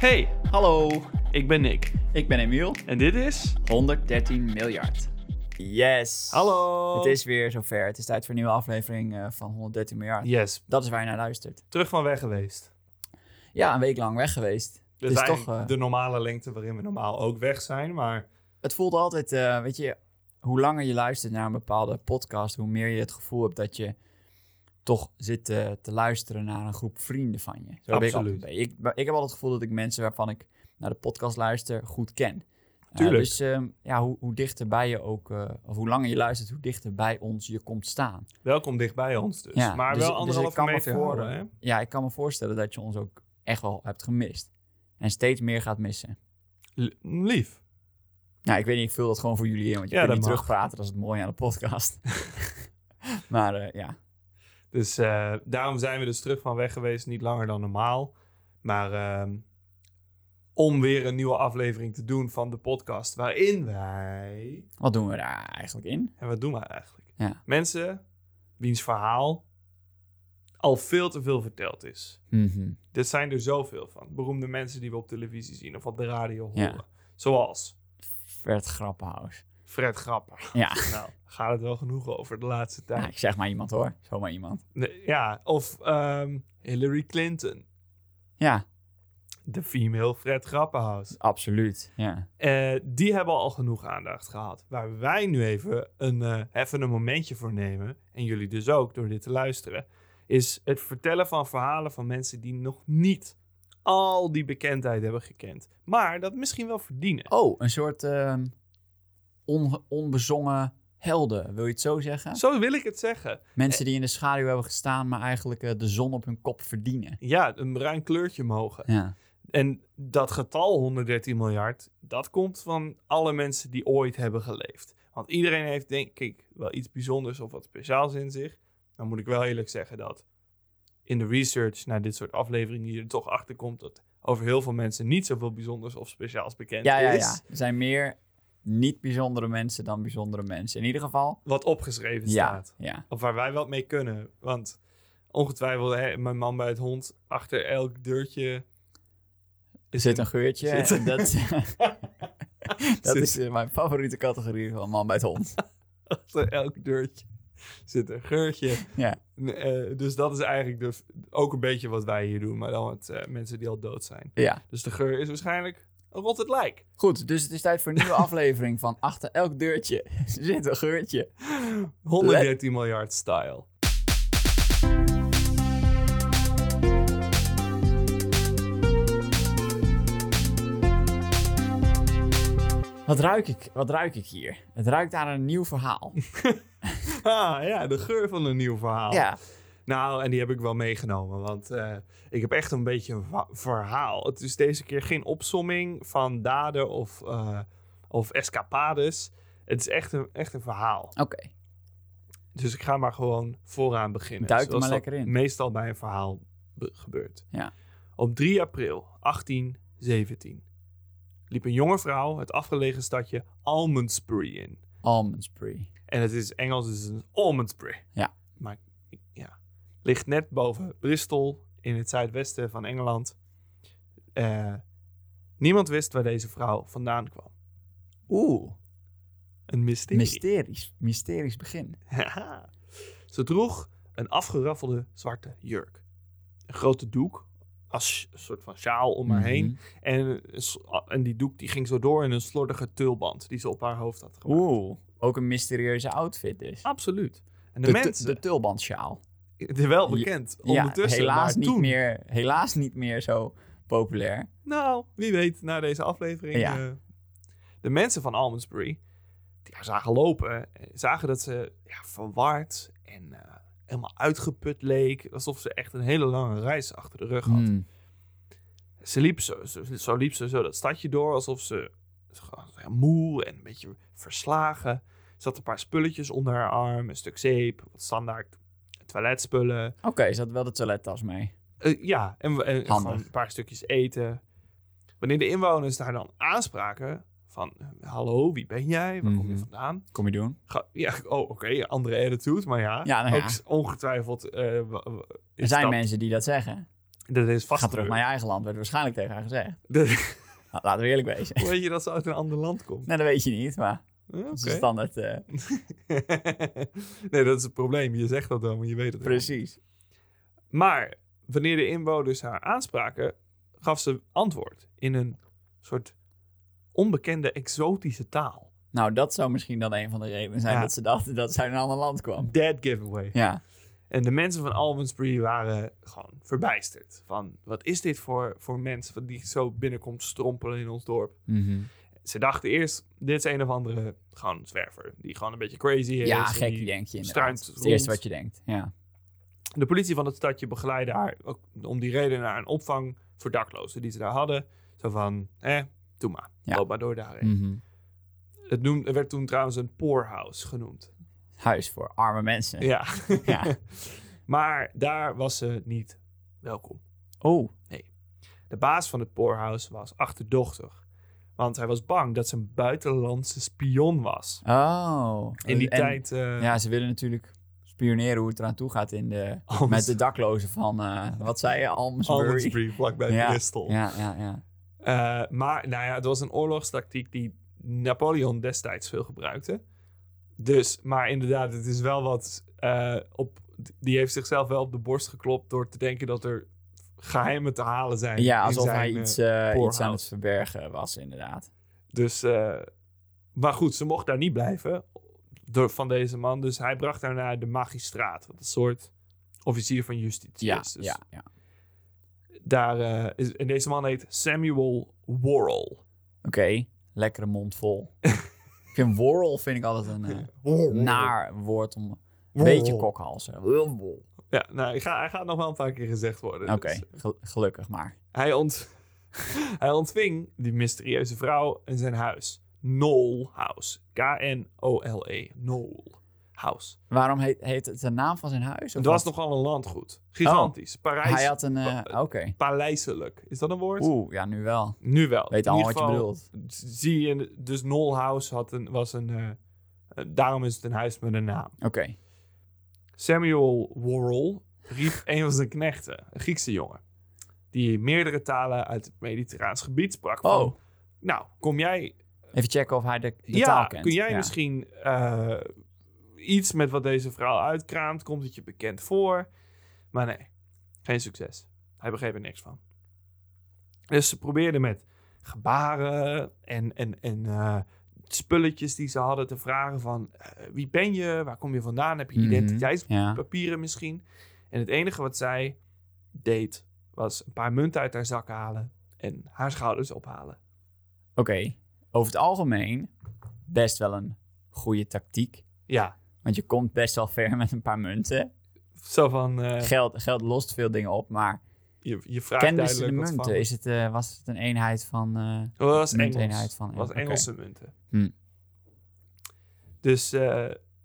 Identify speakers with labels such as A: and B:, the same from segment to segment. A: Hey,
B: Hallo,
A: ik ben Nick
B: ik ben Emiel.
A: en dit is
B: 113 miljard.
C: Yes.
A: Hallo.
C: Het is weer zover. Het is tijd voor een nieuwe aflevering eh, van 113 miljard.
A: Yes,
C: Dat is waar je naar luistert.
A: terug van weg geweest.
C: Ja, een week lang weg geweest.
A: Dat
C: is
A: is
C: toch,
A: toch
C: eh,
A: de normale lengte waarin we normaal ook weg zijn, maar
C: Het voelt altijd, eh, weet je, hoe langer je luistert naar een bepaalde podcast, hoe meer je het gevoel hebt dat je toch zit eh, te luisteren naar een groep vrienden van je. Zo heb ik altijd
A: Absoluut.
C: een beetje. Ik, maar ik heb altijd het gevoel dat ik mensen waarvan ik naar de podcast luister goed ken. Eh,
A: Tuurlijk.
C: dus ehm, ja, hoe, hoe dichterbij je ook, eh, of hoe langer je luistert, hoe dichter bij ons je komt staan.
A: welkom dicht bij ons dus.
C: Ja,
A: maar
C: dus-
A: wel
C: dus ik
A: anderhalve
C: kan me
A: meter horen, hè?
C: verhouden. ja, ik kan me voorstellen dat je ons ook echt wel hebt gemist. En steeds meer gaat missen.
A: L- lief.
C: Nou, ik weet niet, ik vul dat gewoon voor jullie in, want je
A: Ja,
C: kunt
A: dat
C: niet
A: mag.
C: terugpraten. Dat is het mooie aan de podcast. maar eh, ja,
A: Dus eh, daarom zijn we dus terug van weg geweest, niet langer dan normaal. Maar ehm, om weer een nieuwe aflevering te doen van de podcast waarin wij...
C: wat doen we daar eigenlijk in?
A: En wat doen we eigenlijk?
C: Ja.
A: Mensen wiens verhaal al veel te veel verteld is.
C: Mhm.
A: Dit zijn er zoveel van. Beroemde mensen die we op televisie zien of op de radio horen.
C: Ja.
A: Zoals
C: Vert Grappenhuis.
A: Fred Grapper.
C: Ja.
A: Nou, gaat het wel genoeg over de laatste
C: Ja,
A: tijd.
C: Nou, ik zeg maar iemand hoor. Zomaar iemand.
A: Nee, ja, of ehm, Hillary Clinton.
C: Ja,
A: De female Fred Grapperhaus.
C: absoluut. Ja.
A: Eh, die hebben al genoeg aandacht gehad. Waar wij nu even een, eh, even een momentje voor nemen, en jullie dus ook door dit te luisteren, is het vertellen van verhalen van mensen die nog niet al die bekendheid hebben gekend. Maar dat misschien wel verdienen.
C: Oh, een soort ehm, onge- onbezongen helden. Wil je het zo zeggen?
A: Zo wil ik het zeggen.
C: Mensen die in de schaduw hebben gestaan, maar eigenlijk eh, de zon op hun kop verdienen.
A: Ja, een bruin kleurtje mogen.
C: Ja.
A: En dat getal 113 miljard, dat komt van alle mensen die ooit hebben geleefd. Want iedereen heeft denk ik wel iets bijzonders of wat speciaals in zich. Dan moet ik wel eerlijk zeggen dat in de research naar dit soort afleveringen je er toch achter komt dat over heel veel mensen niet zoveel bijzonders of speciaals bekend
C: Ja, ja,
A: is.
C: ja. Er zijn meer niet bijzondere mensen dan bijzondere mensen. In ieder geval.
A: Wat opgeschreven
C: Ja,
A: staat.
C: ja.
A: Of waar wij wat mee kunnen. Want ongetwijfeld, hè, mijn man bij het hond, achter elk deurtje
C: Er zit een geurtje.
A: Zit-
C: en Dat, dat
A: Zit-
C: is eh, mijn favoriete categorie van man bij het hond.
A: achter elk deurtje zit een geurtje.
C: Ja.
A: N- eh, dus dat is eigenlijk de, f- ook een beetje wat wij hier doen, maar dan met eh, mensen die al dood zijn.
C: Ja.
A: Dus de geur is waarschijnlijk een rot het lijk.
C: Goed, dus het is tijd voor een nieuwe aflevering van Achter elk deurtje zit een geurtje.
A: 113 miljard style.
C: Wat ruik ik, wat ruik ik hier? Het ruikt aan een nieuw verhaal.
A: Ah ja, de geur van een nieuw verhaal.
C: Ja.
A: Nou, en die heb ik wel meegenomen, want eh, ik heb echt een beetje een va- verhaal. Het is deze keer geen opsomming van daden of, eh, of escapades. Het is echt een, echt een verhaal.
C: Oké.
A: Dus ik ga maar gewoon vooraan beginnen.
C: Duik er
A: zoals
C: maar
A: dat
C: lekker in.
A: Meestal bij een verhaal be- gebeurt.
C: Ja.
A: Op 3 april 1817 liep een jonge vrouw het afgelegen stadje Almondsbury in.
C: Almondsbury.
A: En het is Engels, dus een Almondsbury.
C: Ja.
A: Maar ik- ja. Ligt net boven Bristol in het zuidwesten van Engeland. Eh, niemand wist waar deze vrouw vandaan kwam.
C: Oeh,
A: Een mysterie.
C: mysterisch. Mysterisch begin.
A: Haha. Ze droeg een afgeraffelde zwarte jurk. Een grote doek als sj- een soort van sjaal om haar heen.
C: Mhm.
A: En, een s- en die doek die ging zo door in een slordige tulband die ze op haar hoofd had gemaakt.
C: Oeh, ook een mysterieuze outfit dus.
A: Absoluut. En de,
C: De, tu-
A: mensen,
C: de tulbandsjaal.
A: wel bekend ondertussen,
C: Ja, helaas,
A: maar
C: niet
A: toen-
C: meer, helaas niet meer zo populair.
A: Nou, wie weet, na deze aflevering.
C: Ja.
A: eh, de mensen van Almondsbury, die haar zagen lopen, eh, zagen dat ze ja, verward en eh, helemaal uitgeput leek. Alsof ze echt een hele lange reis achter de rug had.
C: Hmm.
A: Ze liep zo, zo, zo liep ze zo dat stadje door, alsof ze ze gewoon ja, moe en een beetje verslagen. Ze had een paar spulletjes onder haar arm, een stuk zeep, wat standaard toiletspullen.
C: Oké, ze had wel de toilettas mee.
A: Eh, ja, en, we- en
C: Handig.
A: gewoon een paar stukjes eten. Wanneer de inwoners daar dan aanspraken van... eh, Hallo, wie ben jij? Waar kom je
C: Mhm.
A: vandaan?
C: Kom je doen?
A: Ga- ja, oh, oké, andere attitude, maar ja.
C: Ja, nou ja.
A: Ook s- ongetwijfeld... eh, w- w- is
C: Er zijn
A: dat-
C: mensen die dat zeggen.
A: Dat is vast
C: Ga terug naar
A: gebeurd.
C: je eigen land, werd waarschijnlijk tegen haar gezegd.
A: Dat-
C: Nou, laten we eerlijk wezen.
A: Hoe weet je dat ze uit een ander land komt?
C: Nou, dat weet je niet, maar
A: Huh,
C: dat is
A: oké.
C: een standaard. eh,
A: nee, dat is het probleem. Je zegt dat dan, maar je weet het niet.
C: precies.
A: Maar wanneer de inwoners haar aanspraken, gaf ze antwoord in een soort onbekende exotische taal.
C: Nou, dat zou misschien dan een van de redenen zijn
A: Ja.
C: dat ze dachten dat ze uit een ander land kwam.
A: Dead giveaway.
C: Ja,
A: En de mensen van Alvansbury waren gewoon verbijsterd. Van, wat is dit voor, voor mens wat die zo binnenkomt strompelen in ons dorp?
C: Mhm.
A: Ze dachten eerst, dit is een of andere gewoon zwerver. Die gewoon een beetje crazy is.
C: ja
A: en
C: gek
A: die-
C: denk je
A: struint
C: inderdaad. Het is het
A: rond.
C: eerste wat je denkt, ja.
A: De politie van het stadje begeleidde haar ook om die reden naar een opvang voor daklozen die ze daar hadden. Zo van, eh, doe maar.
C: Ja.
A: Loop maar door daarheen.
C: Mhm.
A: Het noemde, werd toen trouwens een poorhouse genoemd.
C: Huis voor arme mensen.
A: Ja.
C: Ja.
A: maar daar was ze niet welkom.
C: Oh,
A: De baas van het poorhouse was achterdochtig. Want hij was bang dat ze een buitenlandse spion was.
C: oh.
A: In die
C: En-
A: tijd... eh,
C: Ja, ze willen natuurlijk spioneren hoe het eraan toe gaat in de,
A: Alms-
C: met de daklozen van, eh, wat zei je, Almsbury.
A: Almsbury, vlakbij
C: Ja,
A: Bristol.
C: Ja, ja, ja.
A: Eh, maar nou ja, het was een oorlogstactiek die Napoleon destijds veel gebruikte. Dus, maar inderdaad, het is wel wat. eh, op, die heeft zichzelf wel op de borst geklopt door te denken dat er geheimen te halen zijn.
C: Ja,
A: in
C: alsof
A: zijn,
C: hij
A: eh,
C: iets, eh, iets aan het
A: poorhouse.
C: verbergen was, inderdaad.
A: dus, eh, maar goed, ze mocht daar niet blijven door, van deze man. Dus hij bracht haar naar de magistraat, wat een soort officier van justitie
C: Ja,
A: is. Dus
C: ja, ja. Oké,
A: Daar, eh, is, en deze man heet Samuel Worrell.
C: lekkere mond vol. ik vind worrel vind ik altijd een eh, naar woord om een
A: Worrel.
C: beetje kokhalzen. Worrel.
A: Ja, nou, hij gaat, hij gaat nog wel een paar keer gezegd worden.
C: Oké,
A: Dus
C: gel- gelukkig maar.
A: hij, ont, hij ontving die mysterieuze vrouw en zijn huis. Knoll House. K-N-O-L-E. E. Knoll House.
C: Waarom heet, heet het de naam van zijn huis? of
A: Het was
C: wat?
A: nogal een landgoed. Gigantisch. Parijs,
C: Oh. Hij had een... eh, Oké.
A: Paleiselijk. Is dat een woord?
C: Oeh, ja, nu wel.
A: Nu wel.
C: Weet
A: In
C: al
A: ieder
C: wat je
A: geval
C: bedoelt.
A: Zie je, dus Knoll House had een, was een... eh, eh, daarom is het een huis met een naam.
C: Oké.
A: Samuel Worrell riep een van zijn knechten, een Griekse jongen, die meerdere talen uit het Mediterraans gebied sprak. van,
C: Oh.
A: nou, kom jij,
C: Even checken of hij de, de taal
A: ja,
C: kent.
A: kun jij
C: Ja.
A: misschien eh, iets met wat deze vrouw uitkraamt? Komt het je bekend voor? Maar nee, geen succes. Hij begreep er niks van. Dus ze probeerden met gebaren en, en, en eh, spulletjes die ze hadden te vragen van eh, wie ben je, waar kom je vandaan, heb je
C: Mhm.
A: identiteits
C: Ja.
A: papieren misschien. En het enige wat zij deed was een paar munten uit haar zak halen en haar schouders ophalen.
C: Oké, over het algemeen best wel een goede tactiek.
A: Ja,
C: Want je komt best wel ver met een paar munten.
A: zo van eh,
C: Geld, geld lost veel dingen op, maar
A: je, je vraagt
C: kenden ze de
A: duidelijk wat
C: munten?
A: van.
C: Is het, eh, was het een eenheid van... eh,
A: Het Oh, was Engels.
C: munteenheid van-
A: was
C: oké.
A: Engelse munten.
C: Hm.
A: Dus, eh,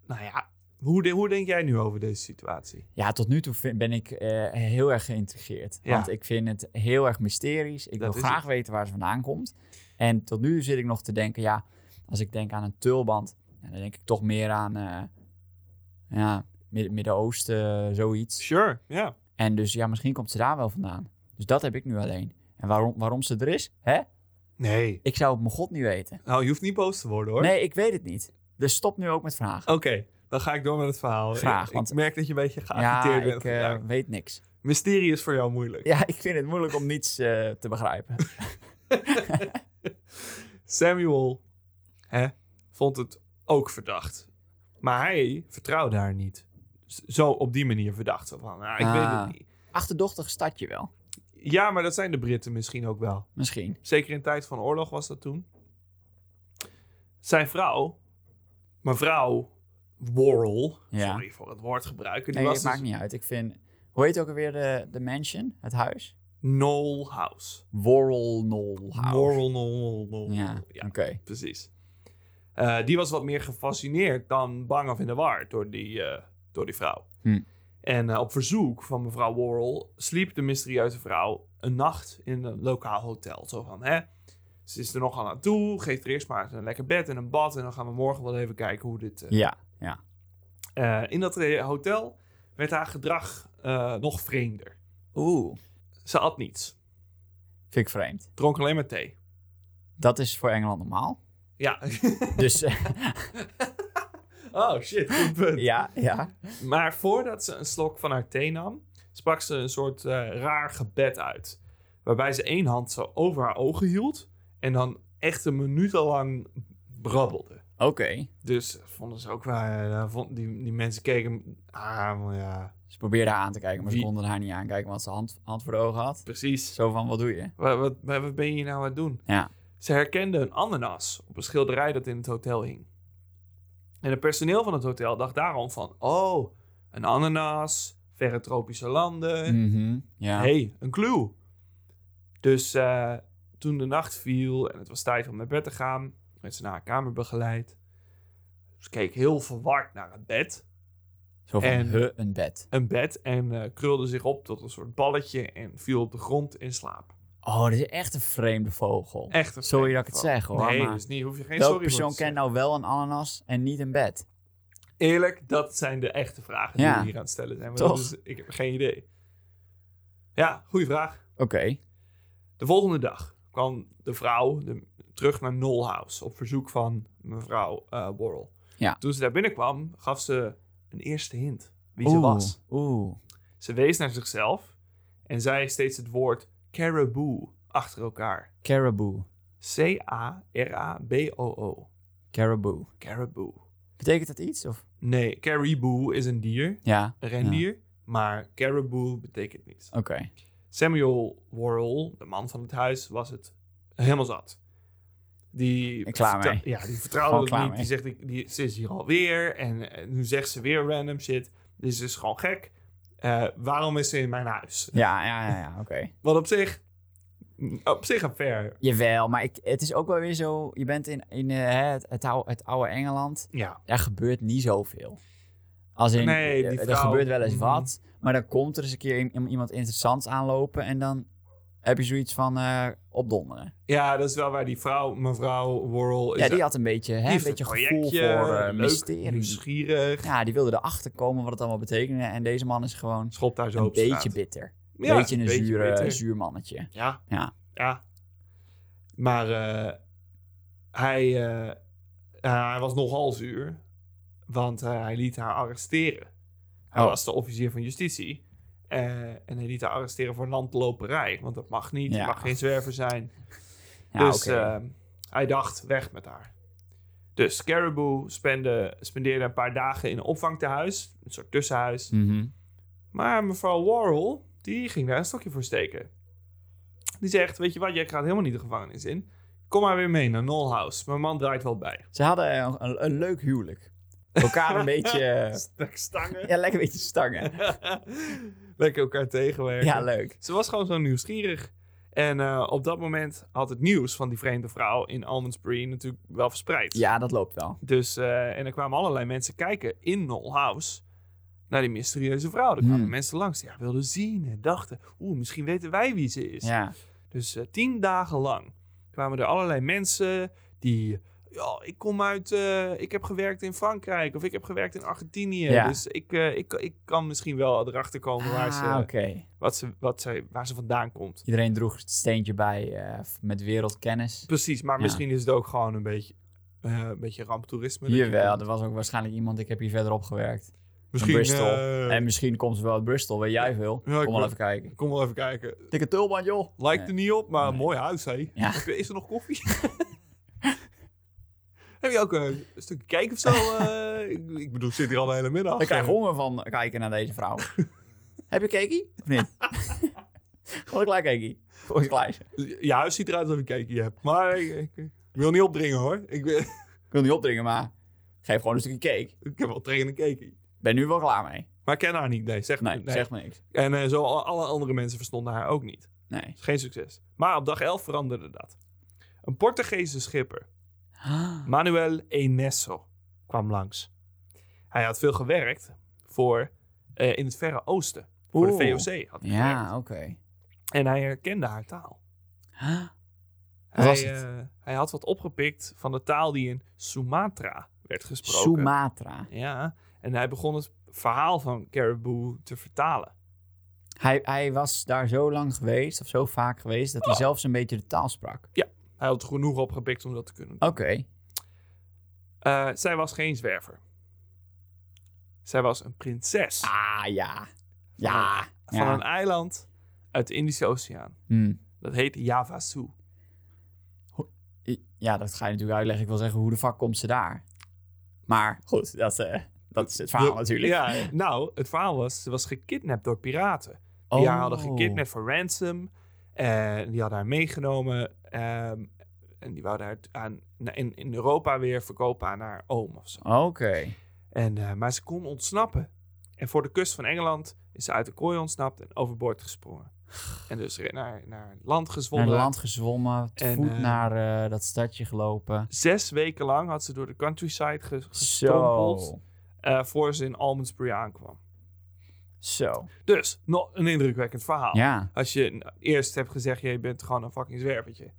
A: nou ja, hoe, de- hoe denk jij nu over deze situatie?
C: Ja, tot nu toe vind- ben ik eh, heel erg geïntrigeerd.
A: Ja.
C: Want ik vind het heel erg mysterisch. Ik
A: Dat
C: wil
A: is
C: graag weten waar ze vandaan komt. En tot nu toe zit ik nog te denken, ja, als ik denk aan een tulband, ja, dan denk ik toch meer aan, eh, ja, Mid- Midden-Oosten, eh, zoiets.
A: Sure, ja.
C: En dus ja, misschien komt ze daar wel vandaan. Dus dat heb ik nu alleen. En waarom, waarom ze er is? Hè?
A: Nee.
C: Ik zou het mijn god niet weten.
A: Nou, je hoeft niet boos te worden hoor.
C: Nee, ik weet het niet. Dus stop nu ook met vragen.
A: Oké, dan ga ik door met het verhaal.
C: Graag,
A: Ik-
C: want-
A: Ik merk dat je een beetje
C: ja,
A: geagiteerd bent.
C: ik eh,
A: vandaag.
C: weet niks.
A: Mysterie is voor jou moeilijk.
C: Ja, ik vind het moeilijk om niets eh, te begrijpen.
A: Samuel hè, vond het ook verdacht. Maar hij vertrouwde haar niet. Z- Zo op die manier verdacht. Zo Van, "Ah, ik
C: Ah.
A: weet het niet.
C: Achterdochtig stadje wel,
A: Ja, maar dat zijn de Britten misschien ook wel.
C: misschien.
A: Zeker in tijd van oorlog was dat toen. Zijn vrouw, mevrouw Worrell,
C: Ja.
A: sorry voor het woord gebruiken, die
C: Nee, het
A: was
C: maakt
A: dus
C: niet uit. Ik vind, hoe heet ook alweer de, de mansion, het huis?
A: Knoll House.
C: Worrel Knoll House.
A: Worrell, Knoll, Knoll.
C: Ja,
A: ja.
C: oké.
A: precies. Eh, die was wat meer gefascineerd dan bang of in de war door die, eh, door die vrouw.
C: Hm.
A: En eh, op verzoek van mevrouw Worrell sliep de mysterieuze vrouw een nacht in een lokaal hotel. Zo van, hè, ze is er nogal aan toe, geef er eerst maar een lekker bed en een bad... en dan gaan we morgen wel even kijken hoe dit... eh,
C: Ja, ja.
A: eh, in dat eh, hotel werd haar gedrag eh, nog vreemder.
C: Oeh,
A: Ze at niets.
C: Vind ik vreemd.
A: Dronk alleen maar thee.
C: Dat is voor Engeland normaal.
A: Ja.
C: Dus eh,
A: oh shit, goed punt.
C: ja, ja.
A: Maar voordat ze een slok van haar thee nam, sprak ze een soort eh, raar gebed uit. Waarbij ze één hand zo over haar ogen hield en dan echt een minuut lang brabbelde.
C: Oké.
A: Dus vonden ze ook wel, eh, vond- die, die mensen keken, ah maar ja,
C: Ze probeerde haar aan te kijken, maar
A: Wie-
C: ze konden haar niet aankijken, want ze hand, hand voor de ogen had.
A: precies.
C: Zo van, wat doe je?
A: Wat, wat, wat wat ben je hier nou aan het doen?
C: Ja.
A: Ze herkende een ananas op een schilderij dat in het hotel hing. En het personeel van het hotel dacht daarom van... Oh, een ananas, verre tropische landen.
C: Mhm, ja.
A: hey, een clue. Dus eh, toen de nacht viel en het was tijd om naar bed te gaan... werd ze naar haar kamer begeleid. Ze keek heel verward naar het bed.
C: Zo van,
A: en-
C: huh, een bed.
A: Een bed en eh, krulde zich op tot een soort balletje... en viel op de grond in slaap.
C: Oh, dit is echt een vreemde vogel.
A: Echt een
C: Sorry
A: vreemde
C: dat ik het
A: vrouw.
C: zeg, hoor,
A: Nee,
C: maar-
A: dus niet, hoef je geen
C: Welke
A: sorry voor
C: persoon
A: te zeggen.
C: kent nou wel een ananas en niet een bed?
A: Eerlijk, dat zijn de echte vragen die
C: nou- Ja.
A: we hier aan het stellen zijn. Maar
C: Toch?
A: dat is- ik heb geen idee. Ja, goede vraag.
C: Oké.
A: De volgende dag kwam de vrouw de- terug naar Nolhouse op verzoek van mevrouw eh Worrell.
C: Ja.
A: Toen ze daar binnenkwam, gaf ze een eerste hint wie ze
C: Oeh,
A: was.
C: Oeh.
A: Ze wees naar zichzelf en zei steeds het woord caribou achter elkaar.
C: Caribou.
A: C-A-R-A-B-O-O.
C: Caribou.
A: Caribou.
C: Betekent dat iets? Of?
A: Nee, caribou is een dier,
C: Ja.
A: een rendier. Maar caribou betekent niets.
C: Oké.
A: Samuel Worrell, de man van het huis, was het helemaal zat. Die
C: En klaar
A: vertra-
C: mee.
A: Ja, die
C: Gewoon
A: vertrouwde het
C: klaar
A: niet. Die zegt, ik- die, ze is hier alweer en eh, nu zegt ze weer random shit. Dus ze is gewoon gek. Eh, waarom is ze in mijn huis?
C: Ja, ja, ja, ja oké.
A: Wat op zich, op zich een fair.
C: Jawel, maar ik, het is ook wel weer zo... Je bent in, in eh, hè, het, het, oude, het oude Engeland.
A: Ja,
C: Daar gebeurt niet zoveel. Als in,
A: Nee, die
C: eh, er
A: vrouw-
C: gebeurt wel eens
A: Mhm.
C: wat. Maar dan komt er eens een keer i- iemand interessants aanlopen... en dan heb je zoiets van eh, opdonderen.
A: ja, dat is wel waar die vrouw, mevrouw Worrell... Is
C: Ja, die had een beetje, hè, een
A: heeft
C: beetje gevoel
A: projectje,
C: voor eh,
A: leuk,
C: mysterie.
A: nieuwsgierig.
C: Ja, die wilde erachter komen wat het allemaal betekende. En deze man is gewoon
A: Schopt daar zo
C: een
A: op straat.
C: beetje bitter. Een
A: Ja,
C: beetje een zure,
A: bitter.
C: zuur mannetje.
A: Ja.
C: Ja.
A: Ja. Maar eh, hij, eh, eh, hij was nogal zuur, want eh, hij liet haar arresteren. Hij
C: Oh.
A: was de officier van justitie. eh, en hij liet haar arresteren voor landloperij, want dat mag niet.
C: Ja.
A: Je mag geen zwerver zijn.
C: Ja,
A: dus
C: oké.
A: eh, hij dacht, weg met haar. Dus Caribou spende, spendeerde een paar dagen in een opvangtehuis, een soort tussenhuis.
C: Mhm.
A: Maar mevrouw Warhol, die ging daar een stokje voor steken. Die zegt, weet je wat, jij gaat helemaal niet de gevangenis in. Kom maar weer mee naar Nolhouse. Mijn man draait wel bij.
C: Ze hadden een, een, een leuk huwelijk. Elkaar een beetje... eh,
A: Stuk stangen.
C: Ja, lekker een beetje stangen.
A: Lekker elkaar tegenwerken.
C: Ja, leuk.
A: Ze was gewoon zo nieuwsgierig. En eh, op dat moment had het nieuws van die vreemde vrouw in Almondsbury natuurlijk wel verspreid.
C: Ja, dat loopt wel.
A: Dus, eh, en er kwamen allerlei mensen kijken in Nolhouse naar die mysterieuze vrouw. Er kwamen
C: Hmm.
A: mensen langs die haar wilden zien en dachten, oeh, misschien weten wij wie ze is.
C: Ja.
A: Dus eh, tien dagen lang kwamen er allerlei mensen die. Ja, ik kom uit. eh, ik heb gewerkt in Frankrijk. Of ik heb gewerkt in Argentinië.
C: Ja.
A: Dus ik, eh, ik, ik kan misschien wel erachter komen waar, ze,
C: Ah, oké.
A: wat ze, wat ze, waar ze vandaan komt.
C: Iedereen droeg het steentje bij eh, met wereldkennis.
A: Precies, maar
C: Ja.
A: misschien is het ook gewoon een beetje. eh, een beetje ramptoerisme. dat je
C: Jawel,
A: komt.
C: er was ook waarschijnlijk iemand, ik heb hier verderop gewerkt.
A: Misschien.
C: Bristol.
A: eh,
C: En misschien komt ze wel uit Bristol, weet jij veel.
A: Ja, ik
C: Kom
A: ben-
C: wel even kijken.
A: Kom wel even kijken.
C: Dikke tulband, joh.
A: Lijkt
C: Nee.
A: er niet op, maar een
C: Nee.
A: mooi huis, hé.
C: Ja.
A: Heb je- Is er nog koffie? Heb je ook eh, een stukje cake of zo? eh? ik, ik bedoel, ik zit hier al de hele middag.
C: Ik krijg honger van kijken naar deze vrouw. Heb je kekie? Of niet? Gewoon een klein kekie. Gewoon een klein.
A: Je huis ziet eruit alsof je cake hier hebt. Maar ik, ik- ik wil niet opdringen, hoor. Ik, ben-
C: Ik wil niet opdringen, maar geef gewoon een stukje cake.
A: ik heb wel trek in een cake.
C: Ben nu wel klaar mee.
A: Maar ik ken haar niet, nee. Zeg,
C: Nee,
A: nee.
C: zeg me niks.
A: En eh, zo al- alle andere mensen verstonden haar ook niet.
C: Nee.
A: Dus geen succes. Maar op dag 11 veranderde dat. Een Portugese schipper Manuel Enesso kwam langs. Hij had veel gewerkt voor, eh, in het Verre Oosten. Voor
C: Oeh.
A: de VOC had hij gewerkt.
C: Ja, oké.
A: En hij herkende haar taal.
C: Wat
A: Hij,
C: was het?
A: eh, hij had wat opgepikt van de taal die in Sumatra werd gesproken.
C: Sumatra.
A: ja, en hij begon het verhaal van Caribou te vertalen.
C: Hij, hij was daar zo lang geweest, of zo vaak geweest, dat hij
A: Oh.
C: zelfs een beetje de taal sprak.
A: Hij had genoeg opgepikt om dat te kunnen doen.
C: Oké.
A: Eh, zij was geen zwerver. Zij was een prinses
C: Ah, ja. Ja.
A: van
C: ja.
A: een eiland uit de Indische Oceaan.
C: Hm.
A: Dat heet Javasu.
C: I- Ja, dat ga je natuurlijk uitleggen. Ik wil zeggen, hoe de fuck komt ze daar? Maar goed, dat, eh, dat is het verhaal natuurlijk.
A: Ja, nou, het verhaal was, ze was gekidnapt door piraten. Die
C: Oh.
A: haar hadden gekidnapt voor ransom. En die hadden haar meegenomen. ehm, en die wouden haar t- aan, na- in, in Europa weer verkopen aan haar oom of zo.
C: Oké.
A: En, eh, maar ze kon ontsnappen. En voor de kust van Engeland is ze uit de kooi ontsnapt en overboord gesprongen. En dus re- naar, naar land
C: Naar
A: gezwommen.
C: het land gezwommen, te
A: En,
C: voet
A: eh,
C: naar eh, dat stadje gelopen.
A: Zes weken lang had ze door de countryside ge- gestrompeld.
C: Zo.
A: eh, voor ze in Almondsbury aankwam.
C: Zo.
A: Dus, nog een indrukwekkend verhaal.
C: Ja.
A: Als je n- eerst hebt gezegd, je bent gewoon een fucking zwervertje.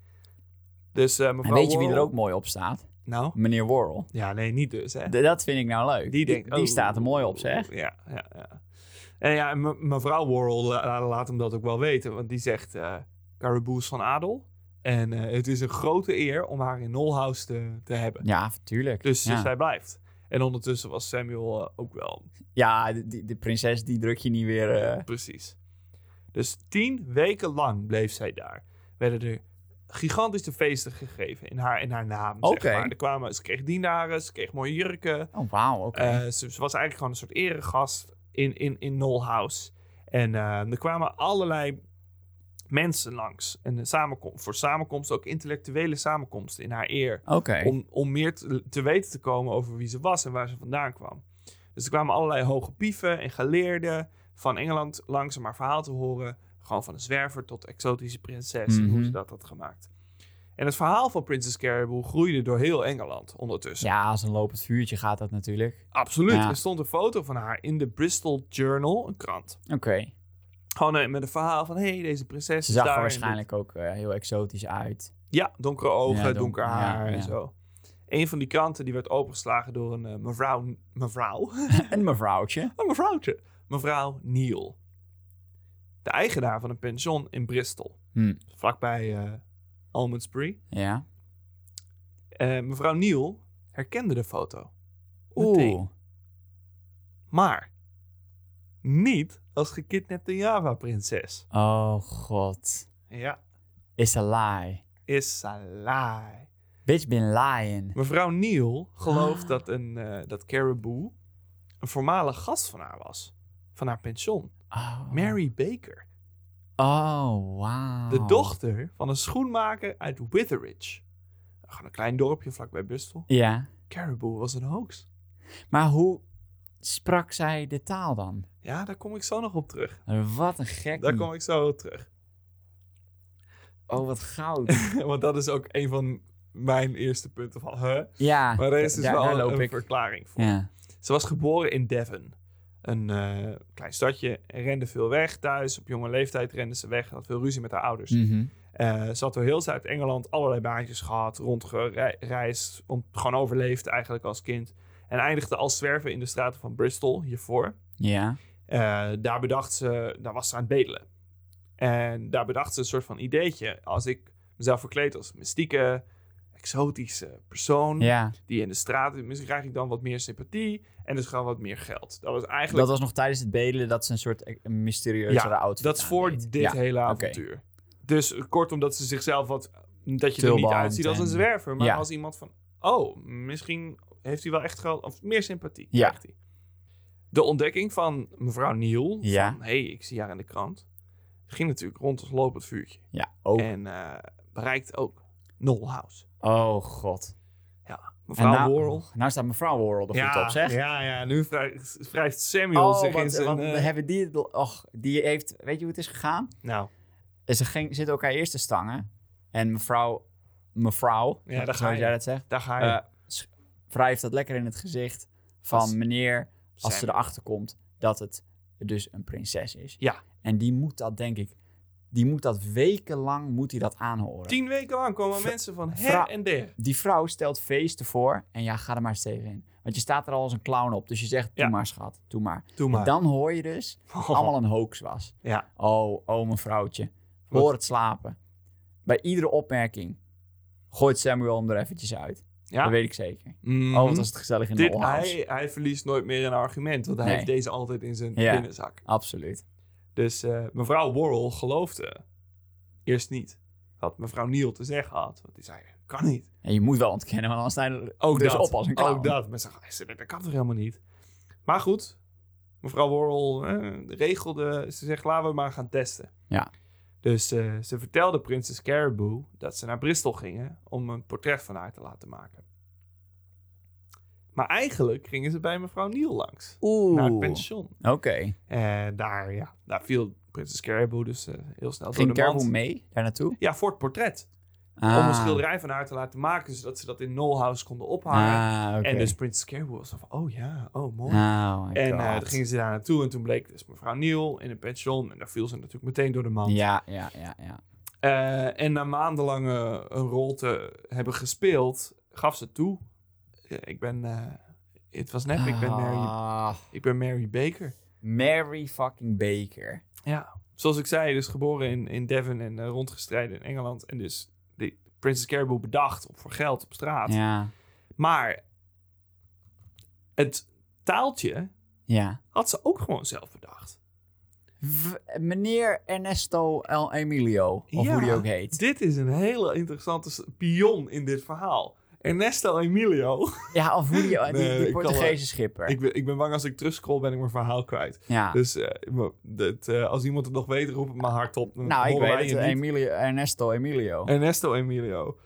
A: Dus eh mevrouw
C: En weet je wie er
A: Worrell-
C: ook mooi op staat?
A: Nou?
C: Meneer Worrell.
A: Ja, nee, niet dus, hè.
C: D- dat vind ik nou leuk.
A: die denkt... oh,
C: staat er mooi op, zeg.
A: Ja, ja, ja. En ja, en me- mevrouw Worrell la- la- laat hem dat ook wel weten. Want die zegt, eh Caribou's van adel. En eh, het is een grote eer om haar in Nolhouse te, te hebben.
C: Ja, natuurlijk.
A: Dus eh,
C: ja,
A: zij blijft. En ondertussen was Samuel eh, ook wel
C: ja de, die- de prinses die druk je niet weer. eh,
A: Precies. Dus tien weken lang bleef zij daar. Werden er gigantische feesten gegeven in haar, in haar naam.
C: Oké.
A: Zeg maar. er kwamen, ze kreeg dienaren, ze kreeg mooie jurken.
C: Oh, wauw. Oké.
A: Eh, ze, ze was eigenlijk gewoon een soort eregast in, in, in Knoll House. En eh, er kwamen allerlei mensen langs. En de samenkom- voor samenkomsten, ook intellectuele samenkomsten in haar eer.
C: Oké.
A: Om, om meer te, te weten te komen over wie ze was en waar ze vandaan kwam. Dus er kwamen allerlei hoge pieven en geleerden van Engeland langs om haar verhaal te horen. Gewoon van een zwerver tot exotische prinses en hoe
C: Mhm.
A: ze dat had gemaakt. En het verhaal van Princess Caribou groeide door heel Engeland ondertussen.
C: Ja, als een lopend vuurtje gaat dat natuurlijk.
A: Absoluut.
C: Ja.
A: Er stond een foto van haar in de Bristol Journal, een krant.
C: Oké.
A: Gewoon eh, met een verhaal van, hé, hey, deze prinses
C: Ze
A: is Dus
C: zag
A: daar
C: er
A: en
C: waarschijnlijk ook eh, heel exotisch uit.
A: dit- Ja, donkere ogen,
C: Ja, donk-
A: donker haar
C: ja,
A: en
C: ja.
A: zo. Een van die kranten die werd opengeslagen door een eh, mevrouw... Mevrouw?
C: Een mevrouwtje.
A: Een mevrouwtje. Oh, Mevrouw Neal. De eigenaar van een pension in Bristol.
C: Hm.
A: Vlakbij eh Almondsbury.
C: Ja.
A: Eh, mevrouw Neal herkende de foto. Meteen.
C: Oeh.
A: Maar niet als gekidnapte Java-prinses.
C: Oh god.
A: Ja,
C: Is a lie.
A: is a lie.
C: Bitch been lying.
A: Mevrouw Neal gelooft
C: Ah.
A: dat, een, eh, dat Caribou een voormalig gast van haar was. Van haar pension.
C: Oh.
A: Mary Baker.
C: Oh, wauw.
A: De dochter van een schoenmaker uit Witheridge. Gewoon een klein dorpje vlakbij Bristol.
C: Ja.
A: Caribou was een hoax.
C: Maar hoe sprak zij de taal dan?
A: Ja, daar kom ik zo nog op terug.
C: Wat een gek.
A: Daar kom ik zo op terug.
C: Oh, wat goud.
A: Want dat is ook een van mijn eerste punten van... Huh?
C: ja.
A: Maar er is
C: da-
A: dus
C: daar,
A: wel
C: daar loop
A: een
C: ik.
A: verklaring voor.
C: Ja.
A: Ze was geboren in Devon. Een eh, klein stadje. En rende veel weg thuis. Op jonge leeftijd rende ze weg. en Had veel ruzie met haar ouders.
C: Mhm.
A: Eh, ze had door heel Zuid-Engeland allerlei baantjes gehad. Rondgereisd. Om, gewoon overleefd eigenlijk als kind. En eindigde als zwerven in de straten van Bristol hiervoor.
C: Ja.
A: Eh, daar bedacht ze... Daar was ze aan het bedelen. En daar bedacht ze een soort van ideetje. Als ik mezelf verkleed als mystieke... Exotische persoon
C: Ja.
A: die in de straat. Misschien krijg ik dan wat meer sympathie en dus gewoon wat meer geld. Dat was
C: Dat
A: eigenlijk.
C: was nog tijdens het bedelen dat ze een soort eh, een mysterieuzere
A: Ja,
C: outfit
A: Dat is voor
C: aandeed.
A: dit
C: Ja.
A: hele avontuur. Dus eh, kortom, dat ze zichzelf wat. Dat je er niet
C: Tulband
A: uitziet als een
C: en-
A: zwerver, maar
C: Ja.
A: als iemand van. Oh, misschien heeft hij wel echt geld. Of meer sympathie.
C: Ja.
A: krijgt hij. De ontdekking van mevrouw Neal.
C: Ja.
A: Van hé, hey, ik zie haar in de krant. Ging natuurlijk rond als lopend vuurtje.
C: Ja. Oh.
A: En eh, bereikt ook Null House.
C: oh, god.
A: Mevrouw
C: nou,
A: Worrell.
C: nou staat mevrouw Worrell er goed op, zeg.
A: Ja, ja, nu wrijft wrijft Samuel
C: Oh,
A: zich in
C: want,
A: zijn...
C: want
A: eh,
C: hebben die... het- Och, die heeft... Weet je hoe het is gegaan?
A: Nou,
C: Ze ging, zitten elkaar eerst te stangen. En mevrouw... Mevrouw,
A: Ja, daar ga
C: zoals
A: je.
C: jij dat zegt.
A: daar ga je.
C: eh sch- wrijft dat lekker in het gezicht van
A: Als-
C: meneer... Als ze
A: Samuel.
C: erachter komt dat het dus een prinses is.
A: Ja.
C: En die moet dat, denk ik... Die moet dat wekenlang moet hij dat aanhoren.
A: Tien weken lang komen
C: Vra-
A: mensen van her
C: vra-
A: en der.
C: Die vrouw stelt feesten voor. En ja, ga er maar eens tegen in. Want je staat er al als een clown op. Dus je zegt, doe
A: Ja.
C: maar schat, doe maar.
A: Doe maar.
C: Dan hoor je dus allemaal een hoax was.
A: Ja.
C: Oh, oh mijn vrouwtje.
A: Wat?
C: Hoor het slapen. Bij iedere opmerking gooit Samuel hem er eventjes uit.
A: Ja?
C: Dat weet ik zeker.
A: Mhm.
C: Oh, wat was het gezellig in
A: Dit,
C: de Olhouse.
A: hij, hij verliest nooit meer een argument, want hij
C: Nee.
A: heeft deze altijd in zijn
C: Ja.
A: binnenzak.
C: Absoluut.
A: Dus eh, mevrouw Worrell geloofde eerst niet wat mevrouw Neal te zeggen had. Want die zei, kan niet.
C: En je moet wel ontkennen, want anders sta je er
A: Ook
C: dus
A: dat.
C: op als een clown.
A: Ook dat. Maar ze zei, dat kan toch helemaal niet? Maar goed, mevrouw Worrell eh, regelde, ze zegt, laten we maar gaan testen.
C: Ja.
A: Dus eh, ze vertelde prinses Caribou dat ze naar Bristol gingen om een portret van haar te laten maken. Maar eigenlijk gingen ze bij mevrouw Neal langs. Naar het
C: Oeh, oké.
A: pension. En daar, ja, daar viel prinses Caribou dus eh, heel snel
C: Ging
A: door de mand.
C: Caribou mee daar naartoe?
A: Ja, voor het portret. Om een
C: Ah.
A: schilderij van haar te laten maken, zodat ze dat in Nolhouse konden ophangen.
C: Ah, oké.
A: En dus prinses Caribou was van, oh ja, oh mooi.
C: Oh my
A: en
C: God.
A: eh, toen gingen ze daar naartoe en toen bleek dus mevrouw Neal in een pension. En daar viel ze natuurlijk meteen door de mand.
C: Ja, ja, ja, ja.
A: Eh, en na maandenlange een rol te hebben gespeeld, gaf ze toe. eh, Ik ben, eh, het was nep, ik ben eh, Mary,
C: Ah,
A: ik ben Mary Baker.
C: Mary fucking Baker.
A: Ja, zoals ik zei, dus geboren in, in Devon en eh, rondgestreden in Engeland. En dus de Princess Caribou bedacht op voor geld op straat.
C: Ja,
A: Maar het taaltje
C: ja.
A: had ze ook gewoon zelf bedacht.
C: V- meneer Ernesto El Emilio, of
A: Ja.
C: hoe die ook heet.
A: Dit is een hele interessante s- pion in dit verhaal. Ernesto Emilio.
C: Ja, of hoe die, die,
A: Nee,
C: die
A: ik kan
C: Portugese schipper.
A: ik, ben, ik ben bang als ik terugscroll ben ik mijn verhaal kwijt.
C: ja.
A: Dus eh, maar dat, eh, als iemand het nog weet, roep het maar hardop. Dan
C: nou, ik
A: horen wij
C: weet het.
A: je niet.
C: Emilio, Ernesto Emilio.
A: Ernesto Emilio.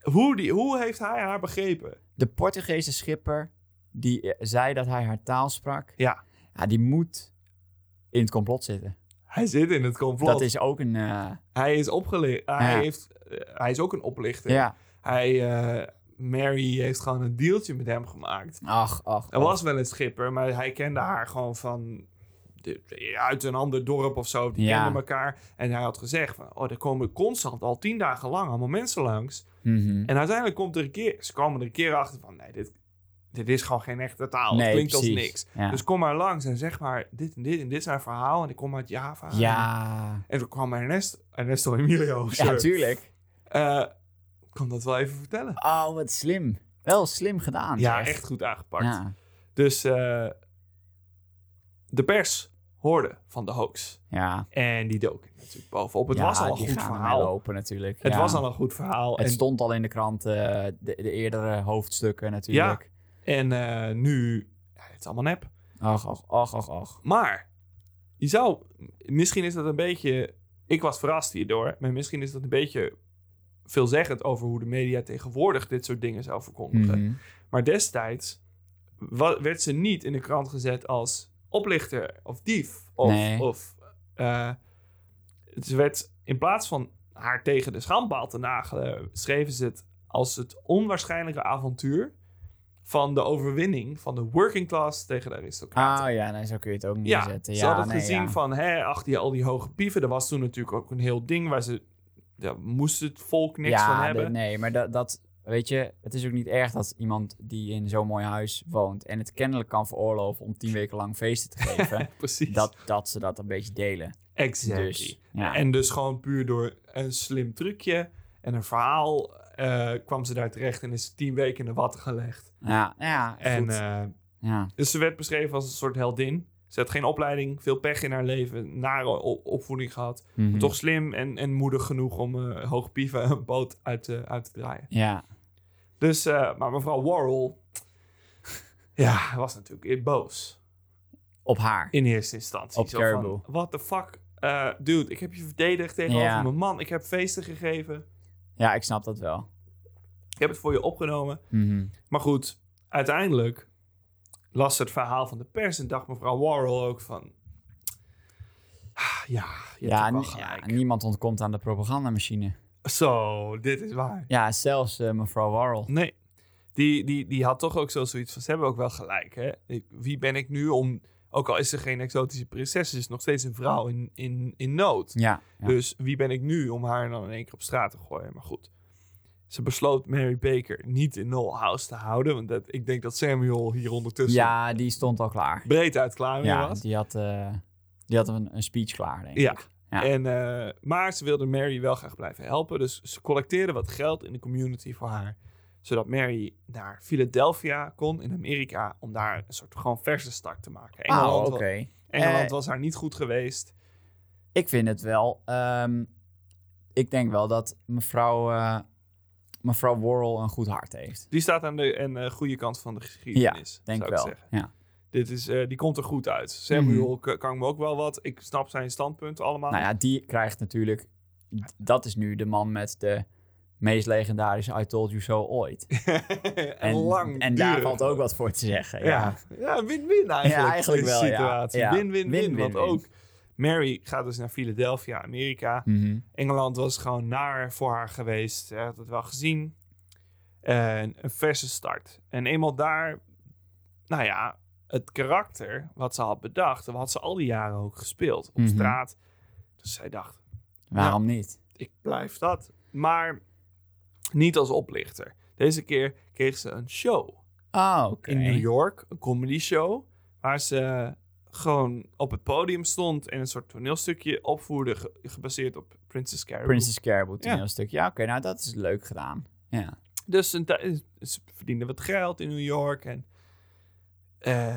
A: Hoe, die, hoe heeft hij haar begrepen?
C: De Portugese schipper die eh, zei dat hij haar taal sprak.
A: Ja.
C: Ja, die moet in het complot zitten.
A: Hij zit in het complot.
C: Dat is ook een... eh,
A: Hij is opgelicht. Hij,
C: Ja.
A: heeft, eh, hij is ook een oplichter.
C: ja.
A: Hij, eh, Mary heeft gewoon een deeltje met hem gemaakt.
C: Ach, ach.
A: Hij
C: ach.
A: was wel een schipper, maar hij kende haar gewoon van... de- uit een ander dorp of zo. Die
C: Ja.
A: kenden elkaar. En hij had gezegd van... Oh, er komen constant al tien dagen lang allemaal mensen langs.
C: Mhm.
A: En uiteindelijk komt er een keer... Ze komen er een keer achter van... Nee, dit, dit is gewoon geen echte taal.
C: Nee,
A: het klinkt
C: precies.
A: als niks.
C: Ja.
A: Dus kom maar langs en zeg maar... Dit en dit en dit is haar verhaal. En ik kom uit Java.
C: ja.
A: En toen kwam Ernesto, Ernesto Emilio.
C: Ja,
A: sorry.
C: natuurlijk.
A: Eh, ik kan dat wel even vertellen.
C: Oh, wat slim. Wel slim gedaan.
A: Ja,
C: zeg.
A: echt goed aangepakt.
C: Ja.
A: Dus eh, de pers hoorde van de hoax.
C: ja.
A: En die dook er natuurlijk bovenop. Het
C: Ja,
A: was al een
C: die
A: goed
C: gaan ermee
A: verhaal.
C: lopen natuurlijk.
A: Het
C: Ja.
A: was al een goed verhaal.
C: Het
A: en
C: stond al in de krant, eh, de, de eerdere hoofdstukken natuurlijk.
A: en eh, nu, ja, het is allemaal nep.
C: Ach, ach, ach, ach, ach.
A: Maar, je zou, misschien is dat een beetje, ik was verrast hierdoor. Maar misschien is dat een beetje veelzeggend over hoe de media tegenwoordig dit soort dingen zou verkondigen.
C: Mhm.
A: Maar destijds wa- werd ze niet in de krant gezet als oplichter of dief. Of,
C: Nee.
A: of eh, ze werd in plaats van haar tegen de schandpaal te nagelen, schreven ze het als het onwaarschijnlijke avontuur van de overwinning van de working class tegen de aristocraten.
C: Ah ja, nee, zo kun je het ook niet
A: Ja,
C: zetten.
A: ze
C: ja,
A: hadden
C: nee,
A: gezien
C: ja.
A: van, hè, achter je al die hoge pieven. Er was toen natuurlijk ook een heel ding waar ze... Daar moest het volk niks
C: ja,
A: van
C: de-
A: hebben.
C: nee, maar dat, dat, weet je, het is ook niet erg dat iemand die in zo'n mooi huis woont en het kennelijk kan veroorloven om tien weken lang feesten te geven,
A: Precies.
C: dat, dat ze dat een beetje delen.
A: exactly.
C: Dus, ja.
A: En dus gewoon puur door een slim trucje en een verhaal eh, kwam ze daar terecht en is tien weken in de watten gelegd.
C: ja, ja,
A: En
C: goed.
A: eh,
C: ja.
A: dus ze werd beschreven als een soort heldin. Ze had geen opleiding, veel pech in haar leven, nare o- opvoeding gehad.
C: Mhm.
A: Maar toch slim en, en moedig genoeg om eh hoog pieven een boot uit, te- uit te draaien.
C: Ja,
A: Dus, eh, maar mevrouw Worrell, ja, was natuurlijk boos.
C: op haar.
A: In eerste instantie.
C: Op
A: Zo van,
C: Caribou.
A: What the fuck, eh, dude, ik heb je verdedigd tegenover
C: Ja.
A: mijn man. Ik heb feesten gegeven.
C: Ja, ik snap dat wel.
A: Ik heb het voor je opgenomen.
C: Mhm.
A: Maar goed, uiteindelijk las ze het verhaal van de pers en dacht mevrouw Warhol ook van... "Ah, Ja, je
C: Ja,
A: hebt ook
C: nie-
A: wel
C: ja,
A: gelijk.
C: niemand ontkomt aan de propagandamachine.
A: Zo, dit is waar.
C: Ja, zelfs eh, mevrouw Warrell.
A: Nee, die, die, die had toch ook zo zoiets van, ze hebben ook wel gelijk, hè. Ik- wie ben ik nu om... Ook al is ze geen exotische prinses, ze is nog steeds een vrouw in, in, in nood.
C: Ja, ja.
A: Dus wie ben ik nu om haar dan in één keer op straat te gooien? Maar goed. Ze besloot Mary Baker niet in Null House te houden. Want dat, ik denk dat Samuel hier ondertussen
C: Ja, die stond al klaar.
A: breed uit klaar mee
C: Ja,
A: Dus- Oh, was.
C: die had, eh, die had een, een speech klaar, denk ik.
A: Ja.
C: Ja.
A: En, eh, maar ze wilde Mary wel graag blijven helpen. Dus ze collecteerde wat geld in de community voor haar. Zodat Mary naar Philadelphia kon in Amerika. Om daar een soort gewoon verse start te maken. Engeland,
C: Ah,
A: wa-
C: oké.
A: Engeland
C: Eh,
A: was haar niet goed geweest.
C: Ik vind het wel. ehm, ik denk wel dat mevrouw, eh mevrouw Worrell een goed hart heeft.
A: Die staat aan de en, eh, goede kant van de geschiedenis.
C: Denk
A: zou ik
C: wel.
A: zeggen.
C: Ja.
A: Dit is, eh, die komt er goed uit. Samuel k- kan me ook wel wat. Ik snap zijn standpunten allemaal.
C: Hmm. Nou ja, die krijgt natuurlijk. Dat is nu de man met de meest legendarische I told you so ooit.
A: en, lang.
C: En daar
A: duren.
C: valt ook wat voor te zeggen. Ja.
A: Ja, ja win-win eigenlijk.
C: Ja, eigenlijk
A: de
C: wel, ja.
A: situatie.
C: Ja.
A: Win-win-win.
C: Win-win-win.
A: Want ook Mary gaat dus naar Philadelphia, Amerika.
C: Mhm.
A: Engeland was gewoon naar voor haar geweest. Ze had het wel gezien. En een verse start. En eenmaal daar, nou ja, het karakter wat ze had bedacht, dat had ze al die jaren ook gespeeld op
C: Mhm.
A: straat. Dus zij dacht,
C: Waarom niet?
A: ik blijf dat. Maar niet als oplichter. Deze keer kreeg ze een show
C: Ah, oké.
A: in New York, een comedy show, waar ze gewoon op het podium stond en een soort toneelstukje opvoerde, ge- gebaseerd op Princess Carrie.
C: Princess Caribou
A: Ja.
C: toneelstuk. Ja, oké. nou, dat is leuk gedaan. Ja.
A: Dus een tij- ze verdiende wat geld in New York. En, eh,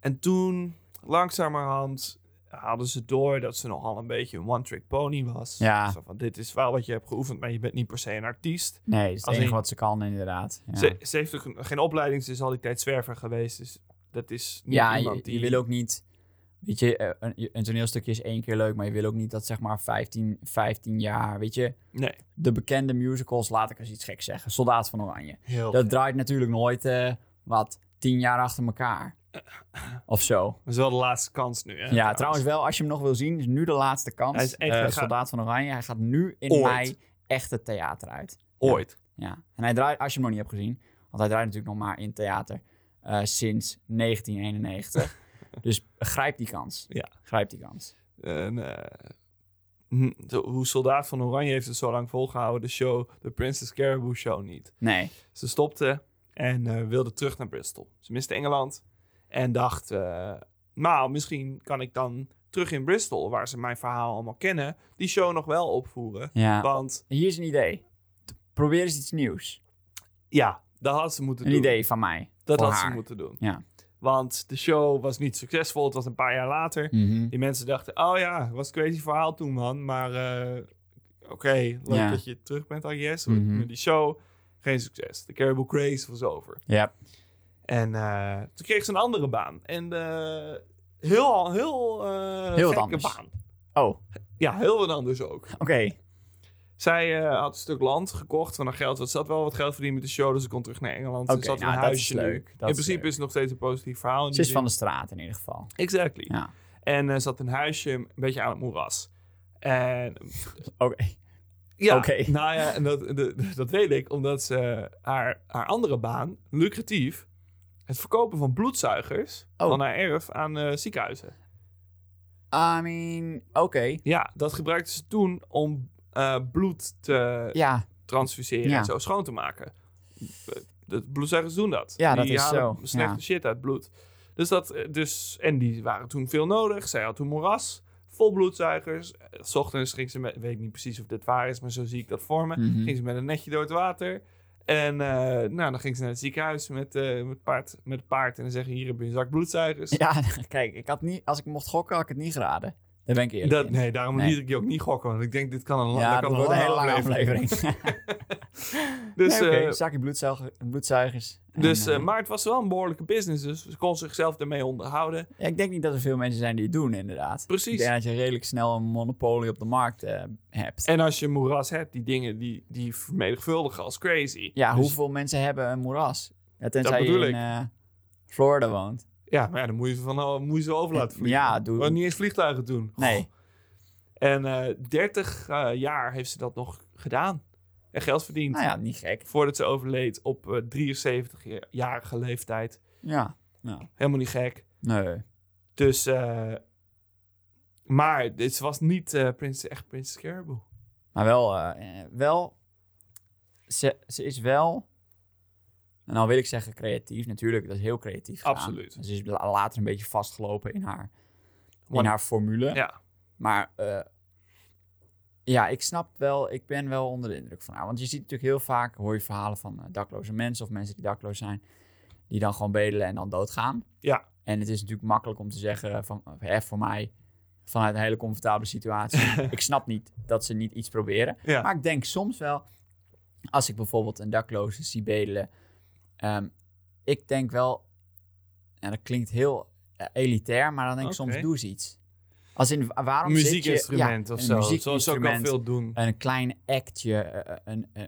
A: en toen, langzamerhand, hadden ze door dat ze nogal een beetje een one-trick pony was.
C: Ja.
A: Zo van, dit is wel wat je hebt geoefend, maar je bent niet per se een artiest.
C: Nee, dat is het
A: Als
C: enige
A: in-
C: wat ze kan, inderdaad. Ja,
A: Ze, ze heeft ook een- geen opleiding, ze is al die tijd zwerver geweest. Dus dat is niet
C: ja je,
A: iemand
C: je
A: die...
C: wil ook niet... Weet je, eh, een, een toneelstukje is één keer leuk, maar je wil ook niet dat zeg maar 15, 15 jaar, weet je...
A: Nee.
C: De bekende musicals, laat ik eens iets geks zeggen. Soldaat van Oranje.
A: Heel
C: Dat draait natuurlijk nooit, eh, wat, 10 jaar achter elkaar. Of zo.
A: Dat is wel de laatste kans nu. Hè,
C: Ja, trouwens wel, als je hem nog wil zien, is nu de laatste kans.
A: Hij is echt-
C: Eh,
A: hij gaat-
C: Soldaat van Oranje, hij gaat nu in
A: Ooit.
C: mei echt het theater uit.
A: Ooit.
C: Ja, en hij draait, als je hem nog niet hebt gezien, want hij draait natuurlijk nog maar in theater eh, sinds 1991. dus grijp die kans.
A: Ja.
C: Grijp die kans.
A: En, eh, hm, de- hoe Soldaat van Oranje heeft het zo lang volgehouden, de show, de Princess Caribou show niet.
C: Nee.
A: Ze stopte en eh, wilde terug naar Bristol. Ze miste Engeland en dacht, eh nou, misschien kan ik dan terug in Bristol, waar ze mijn verhaal allemaal kennen, die show nog wel opvoeren.
C: Ja.
A: Want
C: Hier is een idee. Probeer eens iets nieuws.
A: ja, dat had ze moeten
C: Een
A: doen.
C: idee van mij.
A: Dat
C: voor
A: had
C: haar.
A: ze moeten doen.
C: Ja.
A: Want de show was niet succesvol, het was een paar jaar later. Die mensen dachten, oh ja, was een crazy verhaal toen, man. Maar eh, oké, leuk
C: Ja.
A: dat je terug bent, I guess.
C: Mhm.
A: Maar Die show, geen succes. De Caribou Craze was over.
C: Ja.
A: En eh, toen kreeg ze een andere baan. En eh, heel, heel, eh
C: Heel wat
A: gekke
C: anders.
A: baan.
C: Oh, oké.
A: Ja, heel wat anders ook. Zij eh, had een stuk land gekocht van haar geld. Want ze had wel wat geld verdiend met de show, dus ze kon terug naar Engeland.
C: Oké,
A: ze had
C: nou,
A: een
C: dat is
A: huisje nu.
C: leuk.
A: in
C: Dat is
A: principe
C: leuk.
A: is het nog steeds een positief verhaal. in
C: Ze
A: die
C: is van
A: zin.
C: de straat in ieder geval.
A: Exactly.
C: Ja.
A: En eh, ze had een huisje een beetje aan het moeras. En
C: Oké.
A: Ja,
C: Oké.
A: nou ja, en dat, de- dat weet ik omdat ze haar, haar andere baan, lucratief, het verkopen van bloedzuigers
C: Oh.
A: van haar erf aan eh, ziekenhuizen.
C: I mean, oké.
A: Ja, dat gebruikte ze toen om eh, bloed te
C: Ja,
A: transfuseren
C: Ja.
A: en zo schoon te maken. De bloedzuigers doen dat.
C: Ja, dat
A: Die
C: is
A: halen
C: zo,
A: slechte
C: ja.
A: shit uit bloed. Dus dat, eh, dus, en die waren toen veel nodig. Zij had toen moeras, vol bloedzuigers. Eh, 's ochtends ging ze met, weet ik niet precies of dit waar is, maar zo zie ik dat voor me.
C: Mhm.
A: Ging ze met een netje door het water. En eh, nou, dan ging ze naar het ziekenhuis met, eh, met, paard, met het paard. En dan zeggen hier heb je een zak bloedzuigers.
C: ja kijk, ik had niet, als ik mocht gokken, had ik het niet geraden. Daar ben ik eerlijk
A: Dat,
C: in.
A: nee, daarom
C: Nee.
A: liet ik je ook niet gokken. Want ik denk, dit kan een, la-
C: Ja,
A: kan
C: dat wordt een
A: lange
C: hele lange aflevering.
A: Dus,
C: nee, oké,
A: eh,
C: zakje bloedzuiger- bloedzuigers. En,
A: Dus,
C: eh,
A: eh, maar het was wel een behoorlijke business. Dus ze kon zichzelf ermee onderhouden.
C: ja, ik denk niet dat er veel mensen zijn die het doen, inderdaad. Ik
A: Precies.
C: denk dat je redelijk snel een monopolie op de markt eh, hebt.
A: En als je moeras hebt, die dingen die, die vermenigvuldigen als crazy.
C: ja,
A: Dus-
C: hoeveel mensen hebben een moeras? Ja, tenzij
A: bedoel
C: je
A: ik.
C: in eh, Florida woont.
A: Ja, maar ja, dan moet je ze, van, oh, moet je ze over laten vliegen.
C: Ja,
A: We hadden
C: doe.
A: niet eens vliegtuigen doen.
C: Nee.
A: En eh 30 eh, jaar heeft ze dat nog gedaan. En geld verdiend.
C: Nou ja, niet gek.
A: Voordat ze overleed op eh 73-jarige leeftijd.
C: Ja. Nou,
A: Helemaal niet gek.
C: nee.
A: Dus, eh, maar dit was niet eh, prins, echt Prins Caribou.
C: Maar wel, eh, eh, wel ze, ze is wel... En dan wil ik zeggen creatief, natuurlijk. Dat is heel creatief gedaan.
A: Absoluut.
C: En Ze is la- later een beetje vastgelopen in haar, in
A: Want-
C: haar formule.
A: Ja.
C: Maar eh, ja, ik snap wel, ik ben wel onder de indruk van haar. Want je ziet natuurlijk heel vaak, hoor je verhalen van eh, dakloze mensen of mensen die dakloos zijn, die dan gewoon bedelen en dan doodgaan.
A: Ja.
C: En het is natuurlijk makkelijk om te zeggen, van, eh, hè, voor mij, vanuit een hele comfortabele situatie, ik snap niet dat ze niet iets proberen.
A: Ja.
C: Maar ik denk soms wel, als ik bijvoorbeeld een dakloze zie bedelen, ehm, ik denk wel, en dat klinkt heel eh, elitair, maar dan denk ik
A: Oké.
C: soms, doe ze iets. Als in, wa- waarom zit je-
A: muziekinstrument
C: ja,
A: of
C: een
A: zo. Zoals ze ook wel
C: muziekinstrument,
A: veel doen.
C: Een klein actje, eh, eh, een, eh,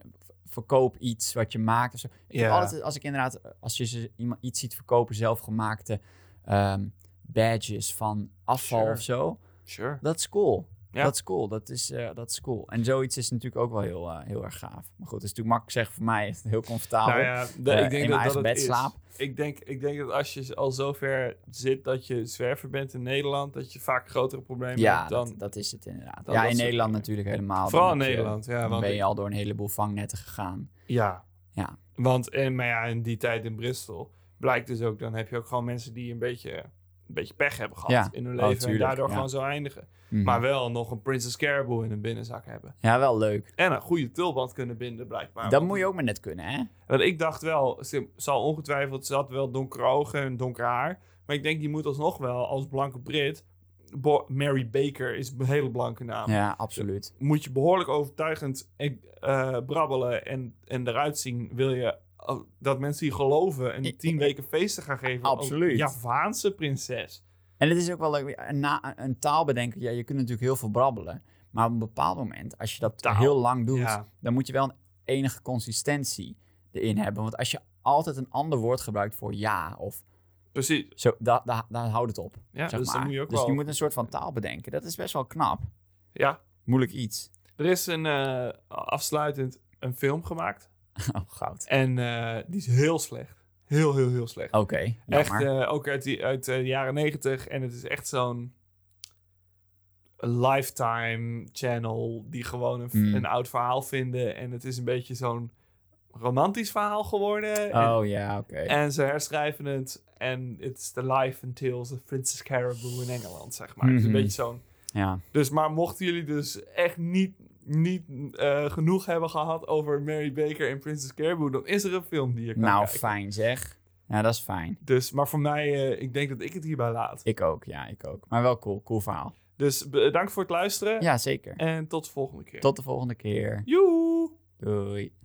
C: verkoop iets wat je maakt of zo. Ik heb
A: Ja.
C: altijd, als ik inderdaad, eh, als je ze, iemand iets ziet verkopen, zelfgemaakte ehm, badges van afval
A: Sure.
C: of zo,
A: Sure.
C: dat is cool.
A: Ja.
C: Dat is cool, dat is, eh, dat is cool. En zoiets is natuurlijk ook wel heel, eh, heel erg gaaf. Maar goed, het is natuurlijk makkelijk zeggen voor mij, is het heel comfortabel.
A: Nou ja, de-
C: Eh,
A: ik denk dat
C: in mijn
A: dat
C: eigen
A: het
C: bed
A: is.
C: slaap.
A: Ik denk, ik denk dat als je al zover zit dat je zwerver bent in Nederland, dat je vaak grotere problemen
C: Ja,
A: hebt dan...
C: dat, dat is het inderdaad.
A: dan
C: Ja,
A: dat
C: in
A: soort
C: Nederland
A: dingen.
C: natuurlijk helemaal.
A: Vooral in
C: Dan heb je-
A: Nederland, ja.
C: eh, Dan
A: Want,
C: ben je al door een heleboel vangnetten gegaan.
A: ja.
C: Ja.
A: want en, maar ja, in die tijd in Bristol blijkt dus ook, dan heb je ook gewoon mensen die een beetje, een beetje pech hebben gehad
C: Ja.
A: in hun
C: Oh,
A: leven en
C: tuurlijk,
A: daardoor
C: ja.
A: gewoon zo eindigen.
C: Mhm.
A: Maar wel nog een Princess Caribou in hun binnenzak hebben.
C: Ja, wel leuk.
A: En een goede tulband kunnen binden, blijkbaar.
C: dat
A: Want-
C: moet je ook maar net kunnen, hè?
A: Want ik dacht wel, ze zal ongetwijfeld, ze had wel donkere ogen en donker haar. Maar ik denk, die moet alsnog wel, als blanke Brit... Bo- Mary Baker is een hele blanke naam.
C: Ja, absoluut.
A: Moet je behoorlijk overtuigend en, eh, brabbelen en, en eruit zien... wil je oh, dat mensen hier geloven en
C: Ik-
A: tien
C: ik-
A: weken feesten gaan geven.
C: Absoluut.
A: Als Javaanse prinses.
C: En het is ook wel leuk, een, na, een taal bedenken. Ja, je kunt natuurlijk heel veel brabbelen. Maar op een bepaald moment, als je dat
A: Taal.
C: heel lang doet,
A: Ja,
C: dan moet je wel een enige consistentie erin hebben. Want als je altijd een ander woord gebruikt voor ja of
A: precies.
C: zo, da, da, dan houdt het op.
A: Ja,
C: zeg
A: dus
C: maar.
A: dan moet je ook
C: dus
A: wel...
C: je moet een soort van taal bedenken. Dat is best wel knap.
A: Ja,
C: Moeilijk iets.
A: er is een, eh, afsluitend een film gemaakt...
C: Oh, goud.
A: En eh, die is heel slecht. Heel, heel, heel slecht.
C: Oké,
A: echt,
C: jammer.
A: eh, ook uit, die, uit eh, de jaren negentig. En het is echt zo'n lifetime channel die gewoon een,
C: Hmm.
A: een oud verhaal vinden. En het is een beetje zo'n romantisch verhaal geworden.
C: oh ja, oké.
A: en, en ze herschrijven het. En it's the life and tales of Princess Caribou in Engeland, zeg maar. Het is
C: Mhm.
A: een beetje zo'n...
C: Ja.
A: Dus, maar mochten jullie dus echt niet, niet eh, genoeg hebben gehad over Mary Baker en Princess Caribou, dan is er een film die je kan
C: Nou,
A: kijken.
C: fijn zeg. Ja, dat is fijn.
A: Dus, maar voor mij, eh, ik denk dat ik het hierbij laat.
C: Ik ook, ja, ik ook. Maar wel cool, cool verhaal.
A: Dus bedankt voor het luisteren
C: Ja, zeker.
A: en tot de volgende keer.
C: Tot de volgende keer.
A: Joe!
C: Doei.